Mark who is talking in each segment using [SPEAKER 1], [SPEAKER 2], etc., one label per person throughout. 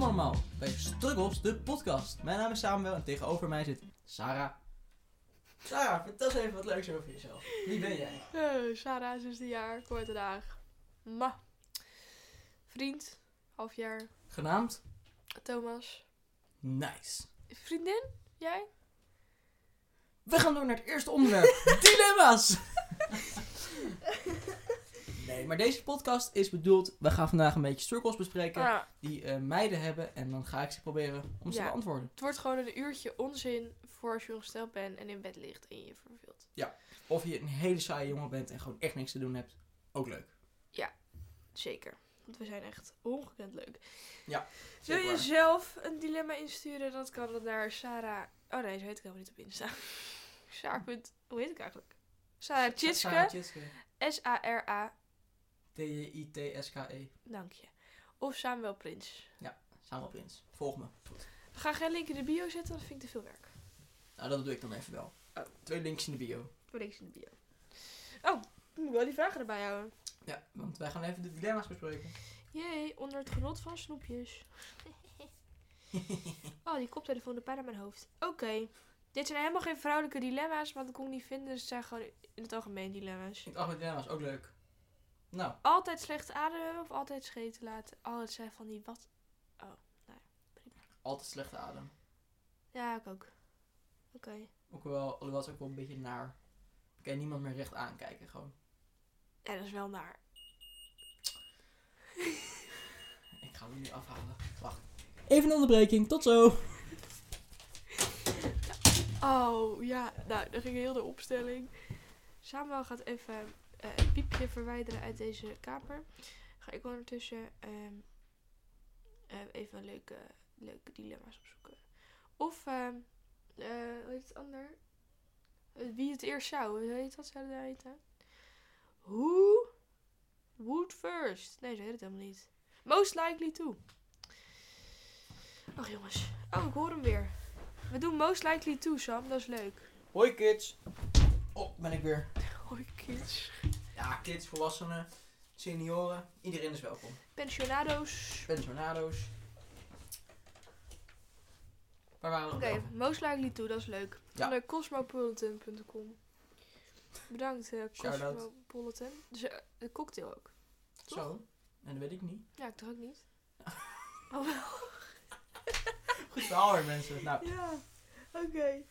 [SPEAKER 1] allemaal bij Struggles, de podcast. Mijn naam is Samuel en tegenover mij zit Sarah. Sarah, vertel eens even wat leuks over jezelf. Wie ben jij?
[SPEAKER 2] Eh, Sarah, 16 jaar, korte dag. Ma. Vriend, half jaar.
[SPEAKER 1] Genaamd?
[SPEAKER 2] Thomas.
[SPEAKER 1] Nice.
[SPEAKER 2] Vriendin? Jij?
[SPEAKER 1] We gaan door naar het eerste onderwerp. Dilemma's! nee, maar deze podcast is bedoeld... We gaan vandaag een beetje struggles bespreken
[SPEAKER 2] Ja,
[SPEAKER 1] die eh, meiden hebben. En dan ga ik ze proberen om ze
[SPEAKER 2] Ja.
[SPEAKER 1] te beantwoorden.
[SPEAKER 2] het wordt gewoon een uurtje onzin voor als je ongesteld bent en in bed ligt en je je verveelt.
[SPEAKER 1] Of je een hele saaie jongen bent en gewoon echt niks te doen hebt. Ook leuk.
[SPEAKER 2] Zeker. Want we zijn echt ongekend leuk. Wil
[SPEAKER 1] Zeker
[SPEAKER 2] je
[SPEAKER 1] waar.
[SPEAKER 2] zelf een dilemma insturen, dan kan dat naar Sarah... Oh nee, zo heet ik helemaal niet op Insta. Sarah. punt- Hoe heet ik eigenlijk? Sarah
[SPEAKER 1] Sarah
[SPEAKER 2] Tjitske.
[SPEAKER 1] Tjitske.
[SPEAKER 2] S-A-R-A.
[SPEAKER 1] T-J-I-T-S-K-E.
[SPEAKER 2] Dank je. Of Samuel Prins.
[SPEAKER 1] Samuel Prins. Volg me.
[SPEAKER 2] We gaan geen link in de bio zetten, dat vind ik te veel werk.
[SPEAKER 1] Nou, dat doe ik dan even wel.
[SPEAKER 2] Oh.
[SPEAKER 1] Twee links in de bio.
[SPEAKER 2] Voor niks in de bio. Oh, dan moet ik wel die vragen erbij houden.
[SPEAKER 1] Ja, want wij gaan even de dilemma's bespreken.
[SPEAKER 2] Jee, onder het genot van snoepjes. oh, die koptelefoon doet bijna mijn hoofd. Oké. Dit zijn helemaal geen vrouwelijke dilemma's, want ik kon ik niet vinden. Dus het zijn gewoon in het algemeen dilemma's.
[SPEAKER 1] Ik dacht, de dilemma's ook leuk. Nou,
[SPEAKER 2] Altijd slecht ademen of altijd scheten laten. Oh, het zijn van die wat...
[SPEAKER 1] altijd slechte adem.
[SPEAKER 2] Ja, ik ook. Oké.
[SPEAKER 1] Ook wel, alhoewel het is ook wel een beetje naar. Ik kan niemand meer recht aankijken gewoon.
[SPEAKER 2] Ja, dat is wel naar.
[SPEAKER 1] Ik ga hem nu afhalen. Wacht. Even een onderbreking, tot zo.
[SPEAKER 2] Oh, ja. Nou, dan ging heel de opstelling. Samuel gaat even eh, een piepje verwijderen uit deze kamer. Ga ik ondertussen ehm, eh, even leuke, leuke dilemma's opzoeken. Of, ehm eh, hoe heet het ander? Eh, Wie het eerst zou, hoe heet dat, zou dat heten? Who would first? Nee, ze heet het helemaal niet. Most likely to. Ach jongens. Oh, ik hoor hem weer. We doen most likely to, Sam. Dat is leuk.
[SPEAKER 1] Hoi kids. Oh, ben ik weer.
[SPEAKER 2] Hoi, kids.
[SPEAKER 1] Ja, kids, volwassenen, senioren. Iedereen is welkom.
[SPEAKER 2] Pensionado's.
[SPEAKER 1] Pensionado's. Waar waren we
[SPEAKER 2] Oké,
[SPEAKER 1] nog over?
[SPEAKER 2] most likely to. Dat is leuk.
[SPEAKER 1] Ja.
[SPEAKER 2] Onder cosmopolitan.com. Bedankt, eh,
[SPEAKER 1] Shout-out.
[SPEAKER 2] Cosmopolitan. Dus, eh, de cocktail ook. toch?
[SPEAKER 1] Zo. En dat weet ik niet.
[SPEAKER 2] Ja, ik toch ook niet. Oh, wel.
[SPEAKER 1] Goed verhaal weer, mensen. Nou,
[SPEAKER 2] Ja, oké.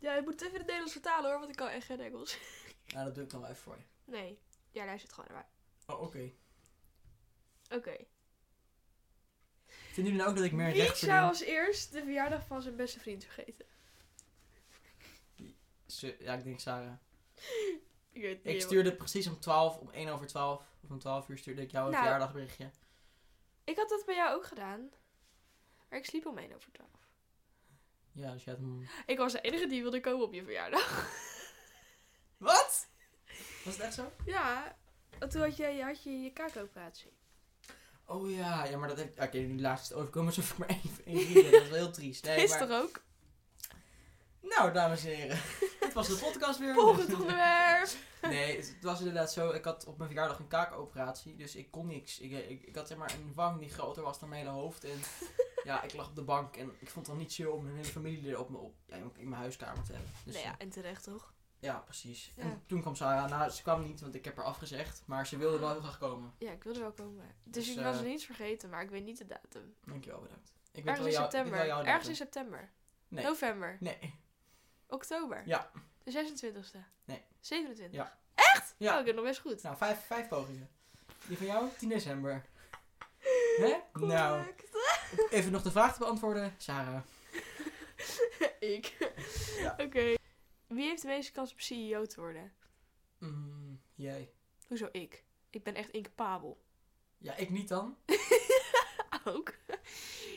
[SPEAKER 2] Ja, je moet het even in het Nederlands vertalen hoor, want ik kan echt geen Engels.
[SPEAKER 1] nou, dat doe ik dan wel even voor je.
[SPEAKER 2] Nee. Ja, luister het gewoon naar
[SPEAKER 1] Oh, oké.
[SPEAKER 2] mij. Oké.
[SPEAKER 1] Vinden jullie nou ook dat ik meer
[SPEAKER 2] Wie
[SPEAKER 1] recht
[SPEAKER 2] zou
[SPEAKER 1] verdien?
[SPEAKER 2] als eerst de verjaardag van zijn beste vriend vergeten?
[SPEAKER 1] Ze- Ja, ik denk Sarah.
[SPEAKER 2] Ik weet het
[SPEAKER 1] Ik
[SPEAKER 2] niet,
[SPEAKER 1] stuurde precies om 12, om 1 over 12, of om 12 uur stuurde ik jou een
[SPEAKER 2] Nou.
[SPEAKER 1] verjaardagberichtje.
[SPEAKER 2] Ik had dat bij jou ook gedaan. Maar ik sliep om 1 over 12.
[SPEAKER 1] Ja, dus je had hem...
[SPEAKER 2] Ik was de enige die wilde komen op je verjaardag.
[SPEAKER 1] Wat? Was het echt zo?
[SPEAKER 2] Ja, want toen had je had je, je kaakoperatie.
[SPEAKER 1] Oh ja, ja, maar dat heb ik... Oké, nu laatst overkomen ze voor mij één reden. Dat is wel heel triest. Nee,
[SPEAKER 2] Is
[SPEAKER 1] maar...
[SPEAKER 2] toch ook?
[SPEAKER 1] Nou, dames en heren. Dit was de podcast Dus, weer.
[SPEAKER 2] Volgend onderwerp!
[SPEAKER 1] Nee, het het was inderdaad zo. Ik had op mijn verjaardag een kaakoperatie, dus ik kon niks. Ik, eh, ik, ik had zeg maar een wang die groter was dan mijn hele hoofd. En ja, ik lag op de bank en ik vond het dan niet chill om mijn hele familie er op me op, ja, in mijn huiskamer te hebben. Dus,
[SPEAKER 2] nou ja, en terecht toch?
[SPEAKER 1] Ja, precies.
[SPEAKER 2] Ja.
[SPEAKER 1] En toen kwam Sarah. Nou, ze kwam niet, want ik heb haar afgezegd. Maar ze wilde wel heel graag komen.
[SPEAKER 2] Ja, ik wilde wel komen. Dus,
[SPEAKER 1] Dus,
[SPEAKER 2] ik was
[SPEAKER 1] eh,
[SPEAKER 2] niets vergeten, maar ik weet niet de datum.
[SPEAKER 1] Dankjewel, bedankt. Ik weet
[SPEAKER 2] Ergens in
[SPEAKER 1] wel jou- ik weet
[SPEAKER 2] september.
[SPEAKER 1] wel jouw
[SPEAKER 2] Ergens
[SPEAKER 1] datum.
[SPEAKER 2] in september.
[SPEAKER 1] Nee.
[SPEAKER 2] November.
[SPEAKER 1] Nee.
[SPEAKER 2] Oktober.
[SPEAKER 1] Ja.
[SPEAKER 2] De 26e.
[SPEAKER 1] Nee.
[SPEAKER 2] 27.
[SPEAKER 1] Ja.
[SPEAKER 2] Echt?
[SPEAKER 1] Ja.
[SPEAKER 2] Oh, ik heb nog best goed.
[SPEAKER 1] Nou, vijf, vijf pogingen. Die van jou, 10 december. Hè? Nou,
[SPEAKER 2] Correct.
[SPEAKER 1] even nog de vraag te beantwoorden. Sarah.
[SPEAKER 2] ik.
[SPEAKER 1] Ja.
[SPEAKER 2] Oké. Wie heeft de meeste kans om CEO te worden?
[SPEAKER 1] Mm, jij.
[SPEAKER 2] Hoezo ik? Ik ben echt incapabel.
[SPEAKER 1] Ja, ik niet dan.
[SPEAKER 2] Ook.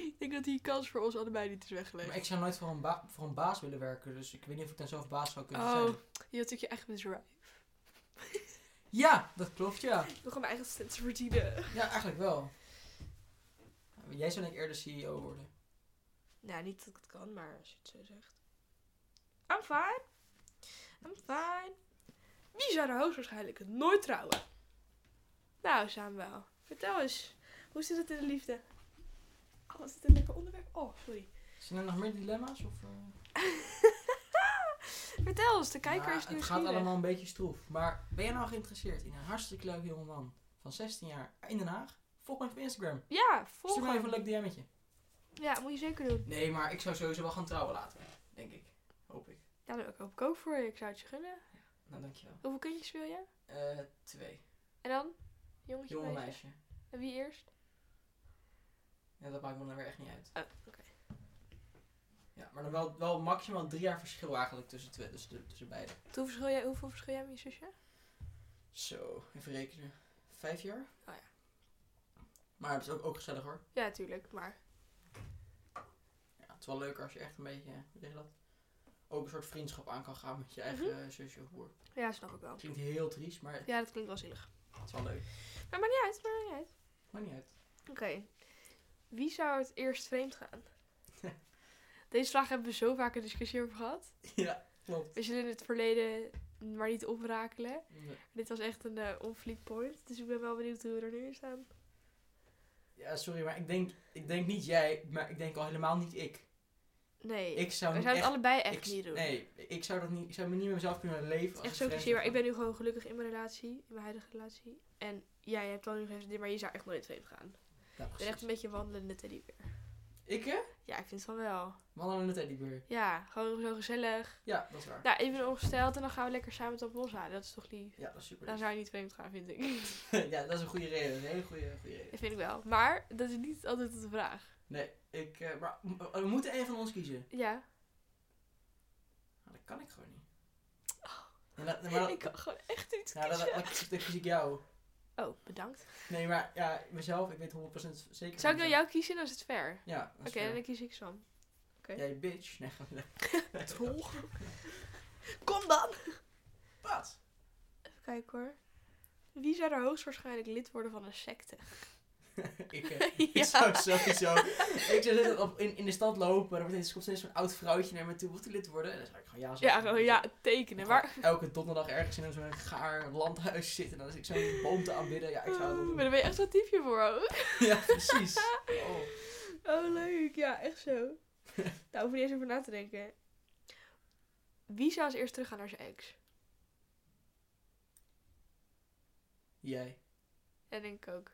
[SPEAKER 2] ik denk dat die kans voor ons allebei niet is weggelegd.
[SPEAKER 1] Maar ik zou nooit voor een, ba- voor een baas willen werken. Dus ik weet niet of ik dan zelf baas zou kunnen
[SPEAKER 2] oh,
[SPEAKER 1] zijn.
[SPEAKER 2] je had natuurlijk je eigen bedrijf.
[SPEAKER 1] Ja, dat klopt, ja.
[SPEAKER 2] Ik wil gewoon mijn eigen cent verdienen.
[SPEAKER 1] Ja, eigenlijk wel. Jij zou denk ik eerder CEO worden.
[SPEAKER 2] Nou, niet dat ik het kan, maar als je het zo zegt. I'm fine. I'm fine. Wie zou er hoogstwaarschijnlijk nooit trouwen? Nou, Samuel, vertel eens. Hoe zit het in de liefde? Oh, wat is dit een lekker onderwerp. Oh, sorry.
[SPEAKER 1] Zijn er nog meer dilemma's? Of, eh?
[SPEAKER 2] Vertel eens, de kijker
[SPEAKER 1] Maar
[SPEAKER 2] is
[SPEAKER 1] Nou, Het
[SPEAKER 2] nieuwsgierig.
[SPEAKER 1] gaat allemaal een beetje stroef. Maar ben je nou geïnteresseerd in een hartstikke leuk jongeman van 16 jaar in Den Haag? Volg mij op Instagram.
[SPEAKER 2] Ja, volg
[SPEAKER 1] Stuur mij
[SPEAKER 2] hem.
[SPEAKER 1] even een leuk DM'tje.
[SPEAKER 2] Ja, moet je zeker doen.
[SPEAKER 1] Nee, maar ik zou sowieso wel gaan trouwen later. Denk ik. Hoop ik.
[SPEAKER 2] Ja, daar hoop ik ook voor je. Ik zou het je gunnen.
[SPEAKER 1] Nou, dankjewel.
[SPEAKER 2] Hoeveel kindjes wil je?
[SPEAKER 1] Eh twee.
[SPEAKER 2] En dan? Jongetje,
[SPEAKER 1] Jonge
[SPEAKER 2] meisje?
[SPEAKER 1] meisje.
[SPEAKER 2] En wie eerst?
[SPEAKER 1] Ja, dat maakt me dan weer echt niet uit.
[SPEAKER 2] Oh, oké.
[SPEAKER 1] Ja, maar dan wel, wel maximaal drie jaar verschil eigenlijk tussen, twee, tussen, de- tussen beide.
[SPEAKER 2] Hoeveel verschil, jij, hoeveel verschil jij met je zusje?
[SPEAKER 1] Zo, even rekenen. Vijf jaar?
[SPEAKER 2] Oh ja.
[SPEAKER 1] Maar het is ook, ook gezellig hoor.
[SPEAKER 2] Ja, natuurlijk, maar...
[SPEAKER 1] Ja, het is wel leuker als je echt een beetje, hoe zeg je dat? Ook een soort vriendschap aan kan gaan
[SPEAKER 2] Mhm.
[SPEAKER 1] met je eigen eh, zusje of broer.
[SPEAKER 2] Ja, snap ik wel.
[SPEAKER 1] Klinkt heel triest, maar
[SPEAKER 2] Ja, dat klinkt wel zielig.
[SPEAKER 1] het is wel leuk.
[SPEAKER 2] Maar maakt niet uit, maakt niet uit.
[SPEAKER 1] Maar niet uit.
[SPEAKER 2] Oké. Wie zou het eerst vreemd gaan? Deze vraag hebben we zo vaak een discussie over gehad.
[SPEAKER 1] ja, klopt.
[SPEAKER 2] We zullen het verleden maar niet oprakelen.
[SPEAKER 1] Nee.
[SPEAKER 2] Dit was echt een eh onfliek point. Dus ik ben wel benieuwd hoe we er nu in staan.
[SPEAKER 1] Ja, sorry, maar ik denk, ik denk niet jij, maar ik denk al helemaal niet ik. Ik
[SPEAKER 2] Nee,
[SPEAKER 1] zou
[SPEAKER 2] we
[SPEAKER 1] niet
[SPEAKER 2] zouden het
[SPEAKER 1] echt-
[SPEAKER 2] allebei echt
[SPEAKER 1] ik,
[SPEAKER 2] niet doen.
[SPEAKER 1] Nee, ik zou, dat niet, ik zou me niet met mezelf kunnen leven.
[SPEAKER 2] Het
[SPEAKER 1] als
[SPEAKER 2] is echt zo
[SPEAKER 1] vreemd
[SPEAKER 2] cliché, maar
[SPEAKER 1] zou
[SPEAKER 2] ik ben nu gewoon gelukkig in mijn relatie, in mijn huidige relatie. En ja, je hebt wel nu geen vriendin, maar je zou echt nooit vreemd gaan.
[SPEAKER 1] gaan. Ja,
[SPEAKER 2] Ik ben
[SPEAKER 1] precies.
[SPEAKER 2] echt een beetje een wandelende teddybeer.
[SPEAKER 1] Ik hè?
[SPEAKER 2] Ja, ik vind het van wel.
[SPEAKER 1] Mannen in de teddybeer.
[SPEAKER 2] Ja, gewoon zo gezellig.
[SPEAKER 1] Ja, dat is waar.
[SPEAKER 2] Nou, even ongesteld en dan gaan we lekker samen tot bos halen. Dat is toch lief?
[SPEAKER 1] Ja, dat is super.
[SPEAKER 2] Dan zou je niet vreemd gaan, vind ik.
[SPEAKER 1] ja, dat is een goede reden. Een hele goede, goede reden.
[SPEAKER 2] Dat vind ik wel. Maar dat is niet altijd de vraag.
[SPEAKER 1] Nee, ik, eh, maar m- we moeten één van ons kiezen.
[SPEAKER 2] Ja,
[SPEAKER 1] Nou, dat kan ik gewoon niet. En dat, maar dat,
[SPEAKER 2] Oh, ik kan gewoon echt niet
[SPEAKER 1] nou, dat, dat,
[SPEAKER 2] kiezen.
[SPEAKER 1] dat kies- dat kies ik jou.
[SPEAKER 2] Oh, bedankt.
[SPEAKER 1] Nee, maar ja, mezelf, ik weet 100% zeker.
[SPEAKER 2] Zou ik
[SPEAKER 1] van
[SPEAKER 2] dan jou kiezen? Dan is het fair.
[SPEAKER 1] Ja, dat
[SPEAKER 2] Oké,
[SPEAKER 1] is fair.
[SPEAKER 2] dan kies ik Sam.
[SPEAKER 1] Jij bitch. Nee, nee.
[SPEAKER 2] Tol. Kom dan!
[SPEAKER 1] Wat?
[SPEAKER 2] Even kijken hoor. Wie zou er hoogstwaarschijnlijk lid worden van een secte?
[SPEAKER 1] ik, eh,
[SPEAKER 2] Ja.
[SPEAKER 1] ik zou sowieso... ik zou net op, in, in de stad lopen, dan wordt er komt steeds zo'n oud vrouwtje naar me toe. Wilt u lid worden? En dan zou ik gewoon ja zeggen.
[SPEAKER 2] Ja, gewoon ja, tekenen. Maar,
[SPEAKER 1] Elke donderdag ergens in zo'n gaar landhuis zitten. En dan is ik zo'n boom te aanbidden. Ja, ik zou dat wel
[SPEAKER 2] Oh, maar
[SPEAKER 1] doen.
[SPEAKER 2] daar ben je echt zo'n typje voor ook.
[SPEAKER 1] Ja, precies. Oh.
[SPEAKER 2] Oh, leuk. Ja, echt zo. nou, hoef je niet eens over na te denken. Wie zou als eerst teruggaan naar zijn ex?
[SPEAKER 1] Jij.
[SPEAKER 2] Dat denk ik ook.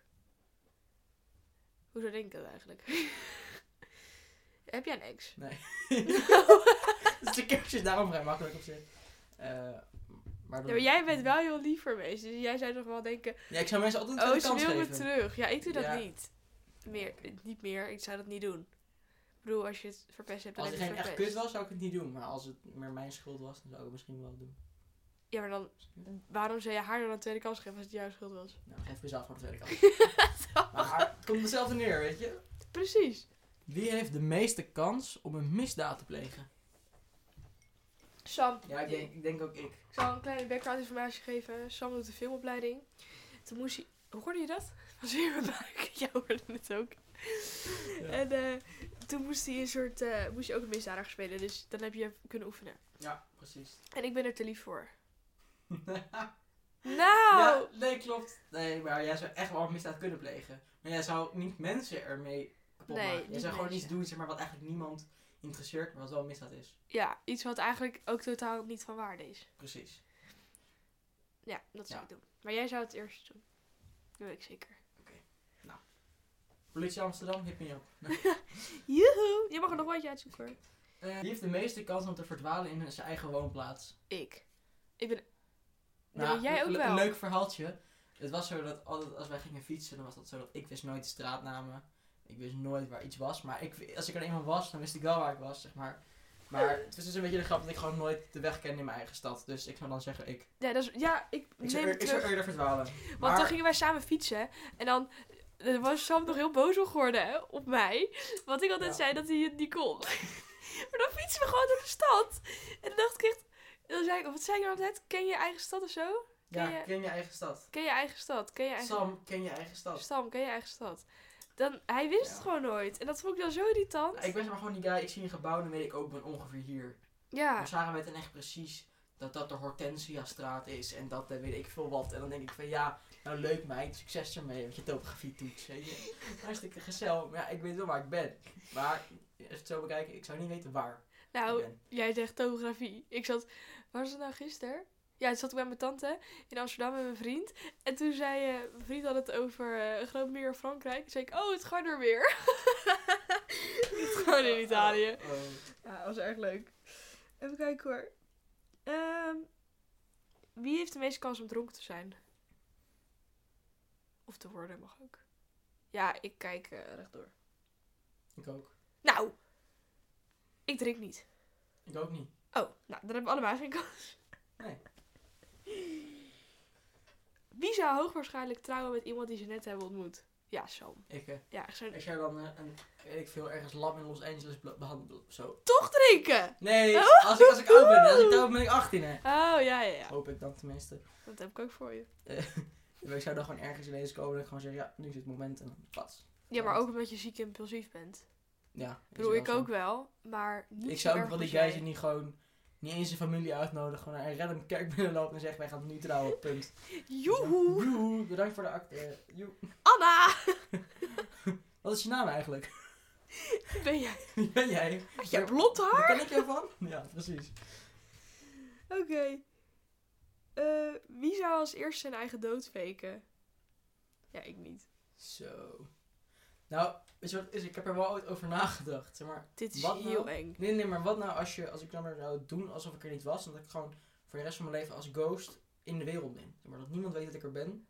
[SPEAKER 2] Hoezo denk ik dat eigenlijk? Heb jij een ex?
[SPEAKER 1] Nee. dus de kerst is daarom vrij makkelijk op zich. Eh, maar,
[SPEAKER 2] Ja, maar jij bent wel heel lief voor mensen. Dus jij zou toch wel denken...
[SPEAKER 1] Ja, ik zou mensen altijd een
[SPEAKER 2] Oh,
[SPEAKER 1] tweede
[SPEAKER 2] ze
[SPEAKER 1] kans
[SPEAKER 2] wil me
[SPEAKER 1] geven.
[SPEAKER 2] terug. Ja, ik doe dat
[SPEAKER 1] Ja.
[SPEAKER 2] niet. Meer, niet meer. Ik zou dat niet doen. Ik bedoel, als je het verpest hebt, dan
[SPEAKER 1] Als het
[SPEAKER 2] heb je
[SPEAKER 1] geen
[SPEAKER 2] het
[SPEAKER 1] echt
[SPEAKER 2] verpest.
[SPEAKER 1] kut was, zou ik het niet doen. Maar als het meer mijn schuld was, dan zou ik het misschien wel doen.
[SPEAKER 2] Ja, maar dan... Waarom zou je haar dan een tweede kans geven als het jouw schuld was?
[SPEAKER 1] Nou, geef mezelf voor de tweede kans. maar het komt hetzelfde neer, weet je.
[SPEAKER 2] Precies.
[SPEAKER 1] Wie heeft de meeste kans om een misdaad te plegen?
[SPEAKER 2] Sam.
[SPEAKER 1] Ja, ik denk, ik denk ook ik.
[SPEAKER 2] Ik zal een kleine background informatie geven. Sam doet de filmopleiding. Toen moest hij... Hoe hoorde je dat? Was weer mijn buik. Jij hoorde het ook. En eh, toen moest hij een soort... eh, moest je ook een misdadiger spelen. Dus dan heb je kunnen oefenen.
[SPEAKER 1] Ja, precies.
[SPEAKER 2] En ik ben er te lief voor. Nou!
[SPEAKER 1] Ja, nee, klopt. Nee, maar jij zou echt wel een misdaad kunnen plegen. Maar jij zou niet mensen ermee kapot
[SPEAKER 2] Nee,
[SPEAKER 1] maken. Jij
[SPEAKER 2] niet
[SPEAKER 1] zou gewoon
[SPEAKER 2] mensen.
[SPEAKER 1] iets doen zeg maar, wat eigenlijk niemand interesseert, maar wat wel een misdaad is.
[SPEAKER 2] Ja, iets wat eigenlijk ook totaal niet van waarde is.
[SPEAKER 1] Precies.
[SPEAKER 2] Ja, dat zou
[SPEAKER 1] Ja.
[SPEAKER 2] ik doen. Maar jij zou het eerst doen. Dat weet ik zeker.
[SPEAKER 1] Politie Amsterdam, hit me up.
[SPEAKER 2] Joehoe! Je mag er nog wat je uitzoeken hoor.
[SPEAKER 1] Eh, wie heeft de meeste kans om te verdwalen in zijn eigen woonplaats?
[SPEAKER 2] Ik. Ik ben...
[SPEAKER 1] Nou,
[SPEAKER 2] nee, jij
[SPEAKER 1] een-
[SPEAKER 2] ook
[SPEAKER 1] een-
[SPEAKER 2] wel.
[SPEAKER 1] Een leuk verhaaltje. Het was zo dat altijd als wij gingen fietsen, dan was dat zo dat ik wist nooit de straatnamen. Ik wist nooit waar iets was. Maar ik, als ik er eenmaal was, dan wist ik wel waar ik was, zeg maar. Maar het was dus een beetje de grap dat ik gewoon nooit de weg kende in mijn eigen stad. Dus ik zou dan zeggen, ik,
[SPEAKER 2] Ja, dat is, ja ik
[SPEAKER 1] ik,
[SPEAKER 2] neem
[SPEAKER 1] zou,
[SPEAKER 2] het
[SPEAKER 1] ik zou
[SPEAKER 2] terug.
[SPEAKER 1] eerder verdwalen.
[SPEAKER 2] Want
[SPEAKER 1] maar,
[SPEAKER 2] toen gingen wij samen fietsen. En dan eh, was Sam nog heel boos op geworden hè, op mij. Want ik altijd
[SPEAKER 1] Ja.
[SPEAKER 2] zei dat hij het niet kon. maar dan fietsen we gewoon door de stad. En dan dacht ik echt... Dan zei ik, wat zei ik nou net? Ken je je eigen stad of zo?
[SPEAKER 1] ja,
[SPEAKER 2] ken je-
[SPEAKER 1] ken je eigen stad.
[SPEAKER 2] Ken je eigen stad? Ken je eigen
[SPEAKER 1] Sam, ken je eigen stad.
[SPEAKER 2] Stam, ken je eigen stad? Dan, hij wist het
[SPEAKER 1] Ja.
[SPEAKER 2] gewoon nooit. En dat vond ik dan zo irritant.
[SPEAKER 1] Ik ben zeg maar gewoon die guy, ik zie een gebouw, dan weet ik ook, ik ben ongeveer hier.
[SPEAKER 2] Ja,
[SPEAKER 1] Maar Sarah weet dan echt precies dat dat de Hortensia-straat is en dat eh, weet ik veel wat. En dan denk ik van ja, nou leuk meid, succes ermee met je topografie-toets. weet je. Hartstikke gezellig, maar ja, ik weet wel waar ik ben. Maar als je het zo bekijkt, ik zou niet weten waar ik
[SPEAKER 2] Nou,
[SPEAKER 1] ben.
[SPEAKER 2] jij zegt topografie. Ik zat, waar was het nou gisteren? Ja, toen zat ik bij mijn tante in Amsterdam met mijn vriend. En toen zei eh, mijn vriend had het over eh, een groot meer in Frankrijk. Toen zei ik, oh, het Gardermeer. het gewoon in Italië.
[SPEAKER 1] Oh, oh.
[SPEAKER 2] Ja, was erg leuk. Even kijken hoor. Ehm, wie heeft de meeste kans om dronken te zijn? Of te worden mag ook. Ja, ik kijk eh, rechtdoor.
[SPEAKER 1] Ik ook.
[SPEAKER 2] Nou, ik drink niet.
[SPEAKER 1] Ik ook niet.
[SPEAKER 2] Oh, nou, dan hebben we allemaal geen kans.
[SPEAKER 1] Nee.
[SPEAKER 2] Wie zou hoogwaarschijnlijk trouwen met iemand die ze net hebben ontmoet? Ja, Sam.
[SPEAKER 1] Ik, eh,
[SPEAKER 2] Ja, ik zou
[SPEAKER 1] als jij dan eh, een, weet ik veel, ergens lab in Los Angeles bla- behandelt, zo.
[SPEAKER 2] toch drinken!
[SPEAKER 1] Nee, als ik, als ik oud ben, als ik oud ben, ben ik 18 hè.
[SPEAKER 2] Oh, ja, ja, ja.
[SPEAKER 1] Hoop ik dan tenminste.
[SPEAKER 2] Dat heb ik ook voor je.
[SPEAKER 1] Ik zou dan gewoon ergens ineens komen en ik gewoon zeggen, ja, nu is het moment en dan pas.
[SPEAKER 2] Ja, maar ook omdat je ziek en impulsief bent.
[SPEAKER 1] Ja.
[SPEAKER 2] Ik
[SPEAKER 1] is
[SPEAKER 2] bedoel,
[SPEAKER 1] wel
[SPEAKER 2] ik
[SPEAKER 1] zo.
[SPEAKER 2] ook wel, maar niet
[SPEAKER 1] Ik
[SPEAKER 2] zo
[SPEAKER 1] zou ook
[SPEAKER 2] erg
[SPEAKER 1] wel die
[SPEAKER 2] als jij.
[SPEAKER 1] guys die niet gewoon niet eens zijn familie uitnodigen, gewoon naar een random kerk binnenlopen en zeggen wij gaan nu trouwen, punt.
[SPEAKER 2] Joehoe!
[SPEAKER 1] Joehoe, bedankt voor de acte. Joe.
[SPEAKER 2] Anna!
[SPEAKER 1] Wat is je naam eigenlijk?
[SPEAKER 2] Ben jij?
[SPEAKER 1] Wie ben jij?
[SPEAKER 2] Had jij blond haar?
[SPEAKER 1] Waar ken ik jou van? Ja, precies.
[SPEAKER 2] Oké. Eh, wie zou als eerste zijn eigen dood faken? Ja, ik niet.
[SPEAKER 1] Zo. Nou, weet je wat het is? Ik heb er wel ooit over nagedacht. Zeg maar,
[SPEAKER 2] Dit is
[SPEAKER 1] Wat nou?
[SPEAKER 2] heel eng.
[SPEAKER 1] nee, nee, maar wat nou als, je, als ik dan maar zou doen alsof ik er niet was en dat ik gewoon voor de rest van mijn leven als ghost in de wereld ben? Zeg maar dat niemand weet dat ik er ben,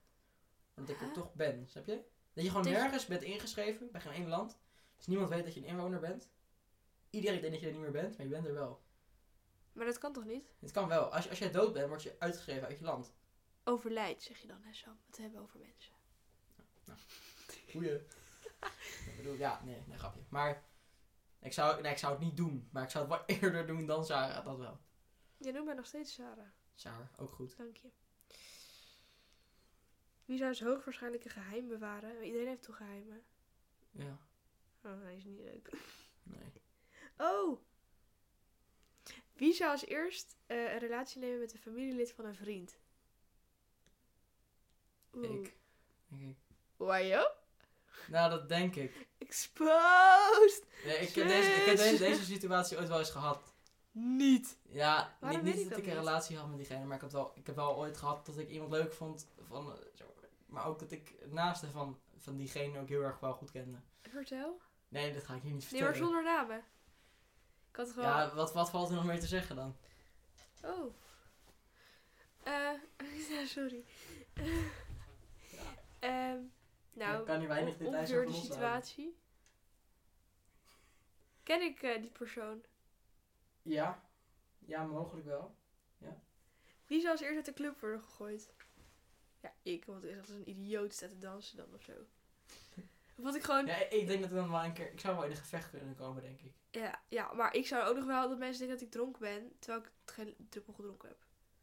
[SPEAKER 1] maar dat ik er
[SPEAKER 2] Huh?
[SPEAKER 1] toch ben, snap je? Dat je gewoon
[SPEAKER 2] Dus-
[SPEAKER 1] nergens bent ingeschreven, bij geen één land. Dus niemand weet dat je een inwoner bent. Iedereen denkt dat je er niet meer bent, maar je bent er wel.
[SPEAKER 2] Maar dat kan toch niet?
[SPEAKER 1] Het kan wel. Als, je- als jij dood bent, word je uitgeschreven uit je land.
[SPEAKER 2] Overlijdt, zeg je dan, hè Sam? Het hebben we over mensen.
[SPEAKER 1] Goeie. ik bedoel, ja, nee, nee, grapje. Maar ik zou, nee, ik zou het niet doen. Maar ik zou het wel eerder doen dan Sarah, dat wel.
[SPEAKER 2] Je noemt mij nog steeds Sarah.
[SPEAKER 1] Sarah, ook goed.
[SPEAKER 2] Dank je. Wie zou als hoogwaarschijnlijk een geheim bewaren? Maar Iedereen heeft toch geheimen?
[SPEAKER 1] Ja,
[SPEAKER 2] Oh, hij is niet leuk.
[SPEAKER 1] nee.
[SPEAKER 2] Oh! Wie zou als eerst eh, een relatie nemen met een familielid van een vriend? Oeh.
[SPEAKER 1] Ik. Denk ik.
[SPEAKER 2] Why yo?
[SPEAKER 1] Nou, dat denk ik.
[SPEAKER 2] Exposed!
[SPEAKER 1] Nee, ik heb, deze, ik heb
[SPEAKER 2] Yes.
[SPEAKER 1] deze, deze situatie ooit wel eens gehad.
[SPEAKER 2] Niet!
[SPEAKER 1] Ja,
[SPEAKER 2] Waarom
[SPEAKER 1] niet,
[SPEAKER 2] weet
[SPEAKER 1] niet
[SPEAKER 2] ik
[SPEAKER 1] dat
[SPEAKER 2] dat
[SPEAKER 1] ik een
[SPEAKER 2] niet?
[SPEAKER 1] relatie had met diegene, maar ik heb, wel, ik heb wel ooit gehad dat ik iemand leuk vond. Van, eh, zo, maar ook dat ik het naaste van, van diegene ook heel erg wel goed kende.
[SPEAKER 2] Vertel.
[SPEAKER 1] Nee, dat ga ik hier niet
[SPEAKER 2] Nee, maar
[SPEAKER 1] vertellen.
[SPEAKER 2] zonder namen. Ik had gewoon...
[SPEAKER 1] ja, wat, wat valt er nog meer te zeggen dan?
[SPEAKER 2] Oh. Eh, ja, sorry. Ehm, nou,
[SPEAKER 1] Ik kan hier weinig
[SPEAKER 2] on-
[SPEAKER 1] details
[SPEAKER 2] ongeveer
[SPEAKER 1] over
[SPEAKER 2] de
[SPEAKER 1] loslaten.
[SPEAKER 2] situatie. Ken ik eh, die persoon?
[SPEAKER 1] Ja. Ja, mogelijk wel.
[SPEAKER 2] Wie zou als eerst uit de club worden gegooid? Ja, ik, want ik als een idioot staat te dansen dan of zo. Wat ik gewoon...
[SPEAKER 1] Ja, ik denk dat we dan wel een keer... Ik zou wel in een gevecht kunnen komen, denk ik.
[SPEAKER 2] Ja, ja, maar ik zou ook nog wel dat mensen denken dat ik dronken ben, terwijl ik het geen druppel gedronken heb.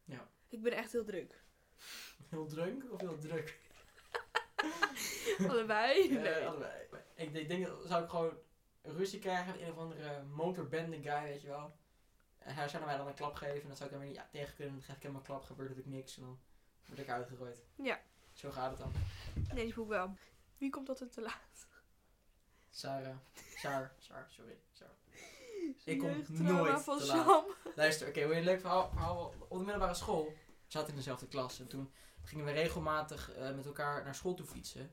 [SPEAKER 1] Ja.
[SPEAKER 2] Ik ben echt heel druk.
[SPEAKER 1] Heel drunk of heel druk?
[SPEAKER 2] Allebei?
[SPEAKER 1] Eh,
[SPEAKER 2] Nee.
[SPEAKER 1] allebei. ik, denk- ik denk dat zou ik gewoon ruzie krijgen met een of andere motorbende guy, weet je wel. En hij zou mij dan een klap geven en dan zou ik hem weer niet tegen kunnen. Dan geef ik hem een klap, gebeurt natuurlijk niks en dan word ik uitgegooid.
[SPEAKER 2] Ja.
[SPEAKER 1] Zo gaat het dan.
[SPEAKER 2] nee, die boek wel. Wie komt altijd te laat?
[SPEAKER 1] Sarah. Saar. Saar, sorry. Saar.
[SPEAKER 2] Zijn
[SPEAKER 1] kom
[SPEAKER 2] jeugdtrauma
[SPEAKER 1] nooit
[SPEAKER 2] van
[SPEAKER 1] te laat.
[SPEAKER 2] Sam.
[SPEAKER 1] Luister, oké, wil je een leuk verhaal, verhaal? Op de middelbare school zaten in dezelfde klas. En toen gingen we regelmatig eh, met elkaar naar school toe fietsen.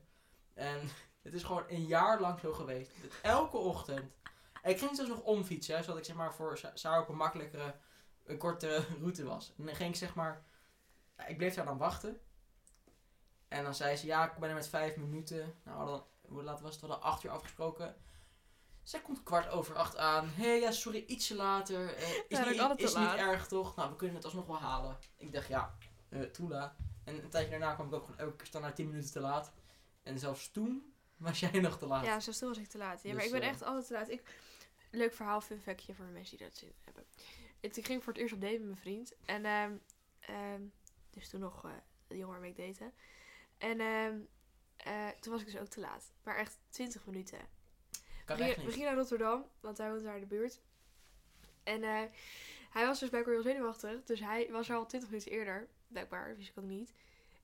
[SPEAKER 1] En het is gewoon een jaar lang zo geweest. Dat Elke ochtend. En ik ging zelfs nog omfietsen, hè, zodat ik zeg maar voor Sa- Sarah ook een makkelijkere, een korte route was. En dan ging ik zeg maar, ik bleef daar dan wachten. En dan zei ze, ja, ik ben er met vijf minuten. Nou, we hadden, hoe laat was het? We hadden acht uur afgesproken. Zij komt kwart over acht aan. Hé, hey, ja, sorry, ietsje later. Eh, is
[SPEAKER 2] dat
[SPEAKER 1] niet,
[SPEAKER 2] is altijd te
[SPEAKER 1] is niet
[SPEAKER 2] laat.
[SPEAKER 1] erg, toch? Nou, we kunnen het alsnog wel halen. Ik dacht, ja, eh toela. En een tijdje daarna kwam ik ook gewoon elke keer standaard tien minuten te laat. En zelfs toen was jij nog te laat.
[SPEAKER 2] Ja, zelfs toen was ik te laat. Ja, maar
[SPEAKER 1] Dus,
[SPEAKER 2] ik ben
[SPEAKER 1] eh,
[SPEAKER 2] echt altijd te laat. Ik... Leuk verhaal, fun factje voor de mensen die dat zin hebben. Ik ik ging voor het eerst op date met mijn vriend. En ehm, ehm, dus toen nog eh jonger mee ik daten. En ehm, eh, toen was ik dus ook te laat. Maar echt 20 minuten.
[SPEAKER 1] Kan echt
[SPEAKER 2] we, gingen, we
[SPEAKER 1] niet.
[SPEAKER 2] gingen naar Rotterdam, want hij woont daar in de buurt. En eh, Hij was dus blijkbaar heel zenuwachtig. Dus hij was er al 20 minuten eerder. Blijkbaar, wist ik ook niet.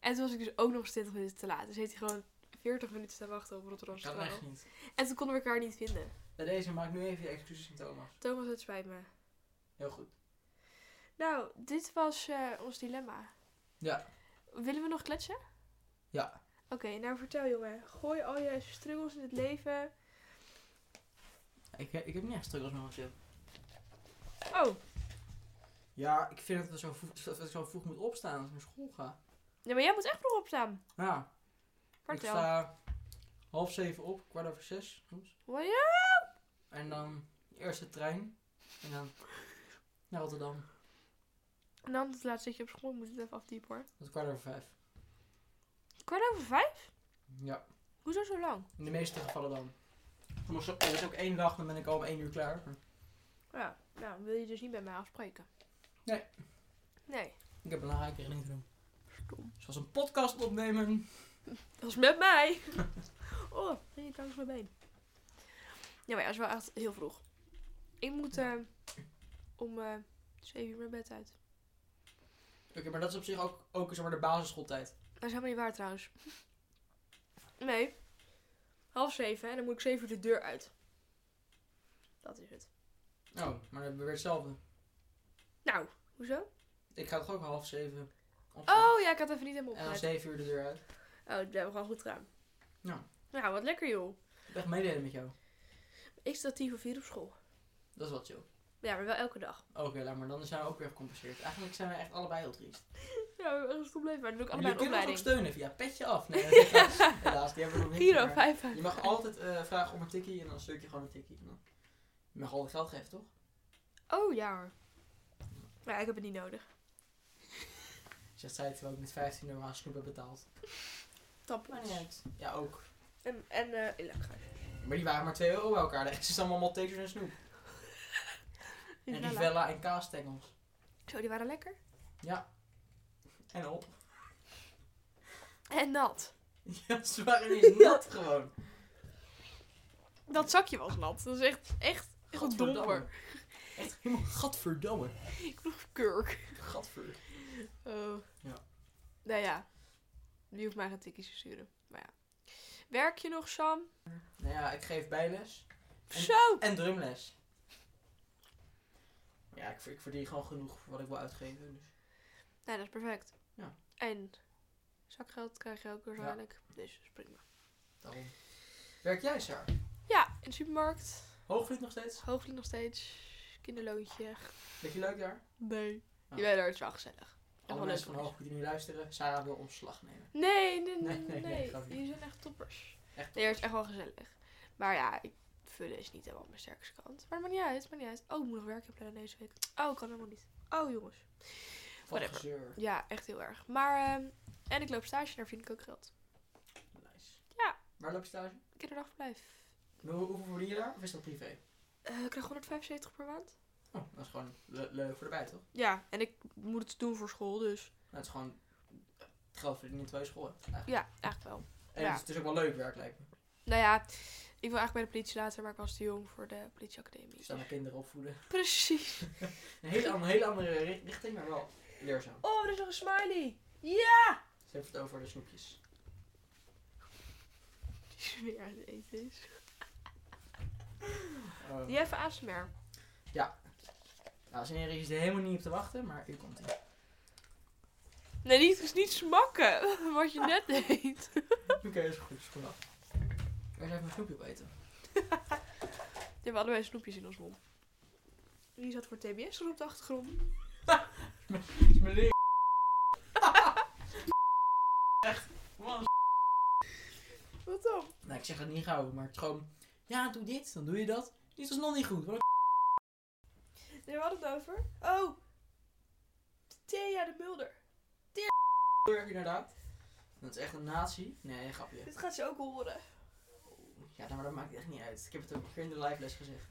[SPEAKER 2] En toen was ik dus ook nog eens 20 minuten te laat. Dus heeft hij gewoon 40 minuten staan wachten op Rotterdamse
[SPEAKER 1] kan
[SPEAKER 2] Centraal.
[SPEAKER 1] echt niet.
[SPEAKER 2] En toen konden we elkaar niet vinden.
[SPEAKER 1] Bij deze maak nu even je excuses aan Thomas.
[SPEAKER 2] Thomas, het spijt me.
[SPEAKER 1] Heel goed.
[SPEAKER 2] Nou, dit was eh, ons dilemma.
[SPEAKER 1] Ja.
[SPEAKER 2] Willen we nog kletsen?
[SPEAKER 1] Ja.
[SPEAKER 2] Oké, nou vertel jongen. Gooi al je struggles in het leven.
[SPEAKER 1] Ik, eh, ik heb niet echt struggles momenteel.
[SPEAKER 2] Oh,
[SPEAKER 1] Ja, ik vind dat, we zo vroeg, dat ik zo vroeg moet opstaan als ik naar school ga.
[SPEAKER 2] ja, maar jij moet echt vroeg opstaan.
[SPEAKER 1] Ja,
[SPEAKER 2] Vertel.
[SPEAKER 1] ik sta half zeven op, kwart over zes. soms.
[SPEAKER 2] Wil je?
[SPEAKER 1] En dan de eerste trein. En dan naar Rotterdam.
[SPEAKER 2] En dan het laatste zit je op school. Moet het even afdiepen hoor.
[SPEAKER 1] Tot kwart over vijf.
[SPEAKER 2] Kwart over vijf?
[SPEAKER 1] Ja,
[SPEAKER 2] Hoezo zo lang?
[SPEAKER 1] in de meeste gevallen dan. Soms er is ook één dag, dan ben ik al om één uur klaar.
[SPEAKER 2] Ja, nou wil je dus niet bij mij afspreken.
[SPEAKER 1] Nee.
[SPEAKER 2] Nee.
[SPEAKER 1] Ik heb belangrijke dingen te doen.
[SPEAKER 2] Stom.
[SPEAKER 1] Zoals een podcast opnemen.
[SPEAKER 2] Dat is met mij. oh, ben je langs mijn been. Ja, maar ja, het is wel echt heel vroeg. Ik moet eh, om eh 7 uur mijn bed uit.
[SPEAKER 1] Oké, maar dat is op zich ook, ook zeg maar, de basisschooltijd.
[SPEAKER 2] Dat is helemaal niet waar trouwens. Nee. Half zeven en dan moet ik zeven uur de deur uit. Dat is het.
[SPEAKER 1] Oh, maar dan hebben we weer hetzelfde.
[SPEAKER 2] Nou, hoezo?
[SPEAKER 1] Ik ga toch ook half zeven opstaan.
[SPEAKER 2] Oh ja, ik had even niet helemaal
[SPEAKER 1] en om
[SPEAKER 2] opgelet.
[SPEAKER 1] zeven uur de deur uit.
[SPEAKER 2] Oh, dat hebben we gewoon goed gedaan.
[SPEAKER 1] Ja.
[SPEAKER 2] Nou, wat lekker joh.
[SPEAKER 1] Ik heb echt meedelen met jou.
[SPEAKER 2] Ik sta tien voor vier op school.
[SPEAKER 1] Dat is wat chill.
[SPEAKER 2] Ja, maar wel elke dag.
[SPEAKER 1] Oké, laat maar. Dan zijn we ook weer gecompenseerd. Eigenlijk zijn we echt allebei heel triest.
[SPEAKER 2] Ja, dat is een probleem. Maar dan doe ik
[SPEAKER 1] Maar jullie
[SPEAKER 2] allebei
[SPEAKER 1] kunnen
[SPEAKER 2] een
[SPEAKER 1] ons ook
[SPEAKER 2] opleiding.
[SPEAKER 1] steunen via petje af. Nee, helaas, helaas, die hebben we nog niet.
[SPEAKER 2] Giro
[SPEAKER 1] maar
[SPEAKER 2] 5.
[SPEAKER 1] Je mag altijd eh, vragen om een tikkie en dan stuur ik je gewoon een tikkie. En dan- Je mag altijd geld geven, toch?
[SPEAKER 2] Oh ja hoor. Maar ja, ik heb het niet nodig.
[SPEAKER 1] Zegt zij terwijl ik met 15 euro aan snoep heb betaald. Maar niet
[SPEAKER 2] Tapplaats.
[SPEAKER 1] uit. Ja, ook.
[SPEAKER 2] En, en eh Elektra.
[SPEAKER 1] Maar die waren maar 2 euro bij elkaar. De rest is allemaal Maltesers en snoep. En Rivella en kaasstengels.
[SPEAKER 2] Zo, die waren lekker.
[SPEAKER 1] En op.
[SPEAKER 2] En nat.
[SPEAKER 1] Ja, ze waren ineens nat gewoon.
[SPEAKER 2] Dat zakje was nat. Dat is echt, echt, echt een
[SPEAKER 1] Gadverdamme.
[SPEAKER 2] domper.
[SPEAKER 1] Echt helemaal gadverdamme.
[SPEAKER 2] Ik vroeg kurk.
[SPEAKER 1] Gadver.
[SPEAKER 2] Oh.
[SPEAKER 1] Ja.
[SPEAKER 2] Nou ja. Die hoeft mij geen tikkies te sturen. Maar ja. Werk je nog, Sam?
[SPEAKER 1] Nou ja, ik geef bijles. En-
[SPEAKER 2] Zo!
[SPEAKER 1] En drumles. Ja, ik, ik verdien gewoon genoeg voor wat ik wil uitgeven. Dus.
[SPEAKER 2] Nee, dat is perfect.
[SPEAKER 1] Ja.
[SPEAKER 2] En zakgeld krijg je ook waarschijnlijk. Dus dat is prima.
[SPEAKER 1] Daarom. Werk jij, Saar?
[SPEAKER 2] Ja, in de supermarkt.
[SPEAKER 1] Hoogvliet nog steeds?
[SPEAKER 2] Hooglied nog steeds. Kinderloontje.
[SPEAKER 1] Vind je leuk daar?
[SPEAKER 2] Nee.
[SPEAKER 1] Oh.
[SPEAKER 2] Jawel, daar is wel gezellig. En
[SPEAKER 1] Alle
[SPEAKER 2] wel leuk
[SPEAKER 1] mensen van
[SPEAKER 2] voor
[SPEAKER 1] Hoogvliet die nu luisteren, Sarah wil ontslag nemen.
[SPEAKER 2] Nee, nee, nee,
[SPEAKER 1] Nee, nee,
[SPEAKER 2] nee.
[SPEAKER 1] nee, grapje.
[SPEAKER 2] Die zijn echt toppers.
[SPEAKER 1] Echt
[SPEAKER 2] Nee, dat is echt wel gezellig. Maar ja, ik- vullen is niet helemaal mijn sterkste kant. Maar het maakt niet uit, het maakt niet uit. Oh, ik moet nog werkje plannen deze week. Oh, kan helemaal niet. Oh, jongens.
[SPEAKER 1] Wat
[SPEAKER 2] Whatever.
[SPEAKER 1] gezeur.
[SPEAKER 2] Ja, echt heel erg. Maar, ehm, en ik loop stage, daar vind ik ook geld.
[SPEAKER 1] Nice.
[SPEAKER 2] Ja.
[SPEAKER 1] Waar loop je stage?
[SPEAKER 2] Kinderdagverblijf.
[SPEAKER 1] Hoe, hoeveel verdien je daar? Of is dat privé?
[SPEAKER 2] Eh ik krijg 175 per maand.
[SPEAKER 1] Oh, dat is gewoon le- leuk voor de bij, toch?
[SPEAKER 2] Ja, en ik moet het doen voor school, dus
[SPEAKER 1] Nou, het is gewoon het geld verdienen in twee scholen. eigenlijk.
[SPEAKER 2] ja, eigenlijk wel.
[SPEAKER 1] En
[SPEAKER 2] ja.
[SPEAKER 1] het, is, het is ook wel leuk werk, lijkt me.
[SPEAKER 2] Nou ja, ik wil eigenlijk bij de politie later, maar ik was te jong voor de politieacademie.
[SPEAKER 1] Dus dan de kinderen opvoeden.
[SPEAKER 2] Precies.
[SPEAKER 1] Een hele, an- hele andere ri- richting, maar wel leerzaam.
[SPEAKER 2] Oh, er is nog een smiley.
[SPEAKER 1] Ze heeft het over de snoepjes.
[SPEAKER 2] Die is weer aan het eten is.
[SPEAKER 1] Oh.
[SPEAKER 2] Die even ASMR.
[SPEAKER 1] Nou, zijn heren is er helemaal niet op te wachten, maar hier komt hij.
[SPEAKER 2] Nee, niet, is niet smakken. Wat je net deed.
[SPEAKER 1] Oké, is goed, is goed. Waar zijn mijn snoepje op eten?
[SPEAKER 2] Ja, we hadden wij snoepjes in ons mond. Wie zat voor TBS er op de achtergrond?
[SPEAKER 1] Is mijn leer. Echt, man.
[SPEAKER 2] Wat dan?
[SPEAKER 1] Nou, ik zeg het niet gauw, maar het is gewoon... Ja, doe dit, dan doe je dat. Dit is nog niet goed. Wat een
[SPEAKER 2] Nee, we hadden het over. Oh. Thea de Mulder.
[SPEAKER 1] kleur, inderdaad. Dat is echt een nazi. Nee, grapje.
[SPEAKER 2] Dit gaat ze ook horen.
[SPEAKER 1] Ja, nou, maar dat maakt echt niet uit. Ik heb het ook een keer in de live les gezegd.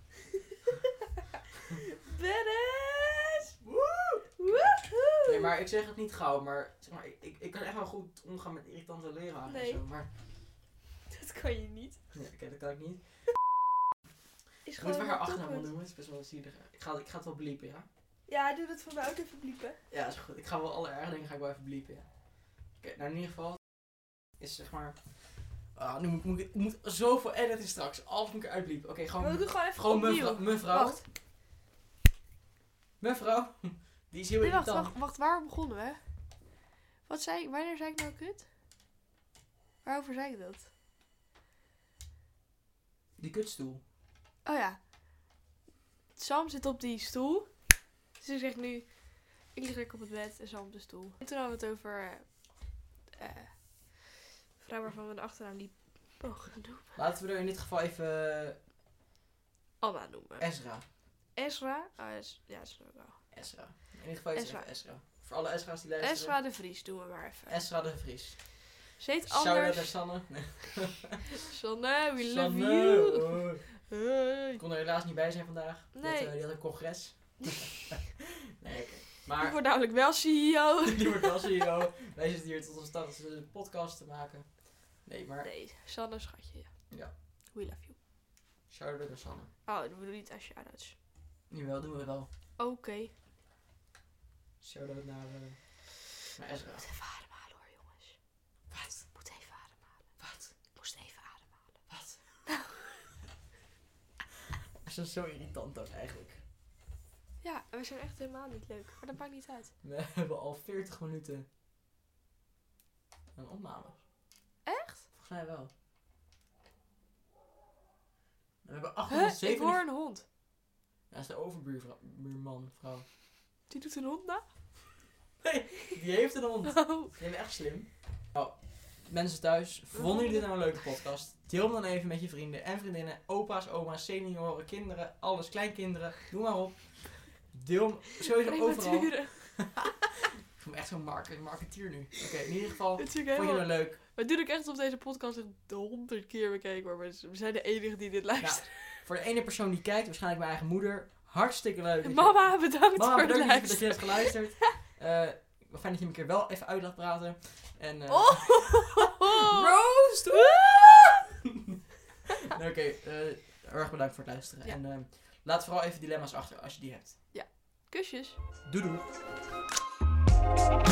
[SPEAKER 2] Badass!
[SPEAKER 1] Woe!
[SPEAKER 2] Woehoe!
[SPEAKER 1] Nee, maar ik zeg het niet gauw, maar, zeg maar ik, ik, ik kan echt wel goed omgaan met irritante leraren
[SPEAKER 2] Nee.
[SPEAKER 1] en zo. Maar
[SPEAKER 2] Dat kan je niet.
[SPEAKER 1] nee, oké, dat kan ik niet.
[SPEAKER 2] Is
[SPEAKER 1] Moeten we haar
[SPEAKER 2] een
[SPEAKER 1] achternaam
[SPEAKER 2] toppunt.
[SPEAKER 1] noemen? Het is best wel zielig. Ik ga, ik ga het wel bliepen, ja?
[SPEAKER 3] Ja, doe dat voor mij ook even bliepen.
[SPEAKER 1] Ja, is goed. Ik ga wel alle erge dingen ga ik wel even bliepen. ja. Oké, nou in ieder geval is zeg maar... Ah, nu moet, moet, ik- ik moet zoveel editen straks. Alles moet ik eruit bliepen. Oké,
[SPEAKER 3] Maar we
[SPEAKER 1] gewoon,
[SPEAKER 3] doen gewoon even
[SPEAKER 1] gewoon
[SPEAKER 3] opnieuw.
[SPEAKER 1] mevrouw, mevrouw.
[SPEAKER 3] Wacht.
[SPEAKER 1] Mevrouw. Die is heel
[SPEAKER 2] Nee, wacht,
[SPEAKER 1] irritant.
[SPEAKER 2] wacht, wacht. Waar begonnen we? Wat zei ik? Wanneer zei ik nou kut? Waarover zei ik dat?
[SPEAKER 1] Die kutstoel.
[SPEAKER 2] Oh ja. Sam zit op die stoel. Dus ik zeg nu... Ik lig lekker op het bed en Sam op de stoel. En toen hadden we het over... eh, eh, vrouw waarvan we de achternaam niet mogen noemen.
[SPEAKER 1] Laten we er in dit geval even
[SPEAKER 2] Anna noemen.
[SPEAKER 1] Ezra.
[SPEAKER 2] Ezra. Oh, dat is- ja, dat is ook wel.
[SPEAKER 1] Ezra. In ieder geval is het
[SPEAKER 2] Ezra.
[SPEAKER 1] even Ezra. Voor alle Ezra's die luisteren.
[SPEAKER 2] Ezra de Vries doen we maar even.
[SPEAKER 1] Ezra de Vries.
[SPEAKER 2] Ze heet
[SPEAKER 1] Shout-out naar
[SPEAKER 2] anders.
[SPEAKER 1] Sanne. Nee.
[SPEAKER 2] Sanne, we love
[SPEAKER 1] Sanne,
[SPEAKER 2] you.
[SPEAKER 1] oh.
[SPEAKER 2] Hey.
[SPEAKER 1] Ik kon er helaas niet bij zijn vandaag. Die had,
[SPEAKER 2] Nee.
[SPEAKER 1] eh, die had een congres. nee, oké. Maar
[SPEAKER 2] Ik word namelijk wel E CEO.
[SPEAKER 1] die wordt wel CEO. Wij zitten hier tot ons tachtigste een podcast te maken. Nee, maar
[SPEAKER 2] Nee, Sanne, schatje.
[SPEAKER 1] Ja.
[SPEAKER 2] We love you.
[SPEAKER 1] shout-out naar Sanne.
[SPEAKER 2] Oh, dat bedoel niet als shout-outs.
[SPEAKER 1] Jawel, doen we wel.
[SPEAKER 2] Oké.
[SPEAKER 1] Shout-out naar, eh, naar Ezra.
[SPEAKER 2] Ik moet even ademhalen hoor, jongens.
[SPEAKER 1] Wat?
[SPEAKER 2] Ik moet even ademhalen.
[SPEAKER 1] Wat?
[SPEAKER 2] Ik moest even ademhalen.
[SPEAKER 1] Wat? Ze is zo irritant ook eigenlijk.
[SPEAKER 2] Ja, we zijn echt helemaal niet leuk. Maar dat maakt niet uit.
[SPEAKER 1] We hebben al 40 minuten een opname.
[SPEAKER 2] Echt?
[SPEAKER 1] Volgens mij wel. We hebben
[SPEAKER 2] Huh? Ik
[SPEAKER 1] 870...
[SPEAKER 2] hoor een hond.
[SPEAKER 1] Dat is de overbuurman, vrouw.
[SPEAKER 2] Die doet een hond na?
[SPEAKER 1] Die heeft een hond.
[SPEAKER 2] Oh.
[SPEAKER 1] Die is echt slim. Nou, mensen thuis, vonden jullie dit nou een leuke podcast? Deel hem dan even met je vrienden en vriendinnen, opa's, oma's, senioren, kinderen, alles, kleinkinderen. Doe maar op. Deel hem sowieso overal. Ik
[SPEAKER 2] Prematuren.
[SPEAKER 1] voel me echt zo'n market, marketeer nu. Oké, in ieder geval,
[SPEAKER 2] Het is ook
[SPEAKER 1] vond je
[SPEAKER 2] helemaal...
[SPEAKER 1] het leuk?
[SPEAKER 2] We doen ook echt op deze podcast echt de honderd keer bekeken. hoor. Maar we zijn de enige die dit
[SPEAKER 1] Nou,
[SPEAKER 2] luistert.
[SPEAKER 1] voor de ene persoon die kijkt, waarschijnlijk mijn eigen moeder, hartstikke leuk. dat je-
[SPEAKER 2] Mama, bedankt
[SPEAKER 1] Mama,
[SPEAKER 2] voor
[SPEAKER 1] bedankt
[SPEAKER 2] het
[SPEAKER 1] dat je- dat je
[SPEAKER 2] luisteren.
[SPEAKER 1] hebt geluisterd. Eh, wat fijn dat je me een keer wel even uit laat praten. En, eh,
[SPEAKER 2] Oh!
[SPEAKER 1] Roast! Nee, Oké, eh, heel erg bedankt voor het luisteren.
[SPEAKER 2] Ja.
[SPEAKER 1] En eh, laat vooral even dilemma's achter als je die hebt.
[SPEAKER 2] Kusjes.
[SPEAKER 1] Doei doei!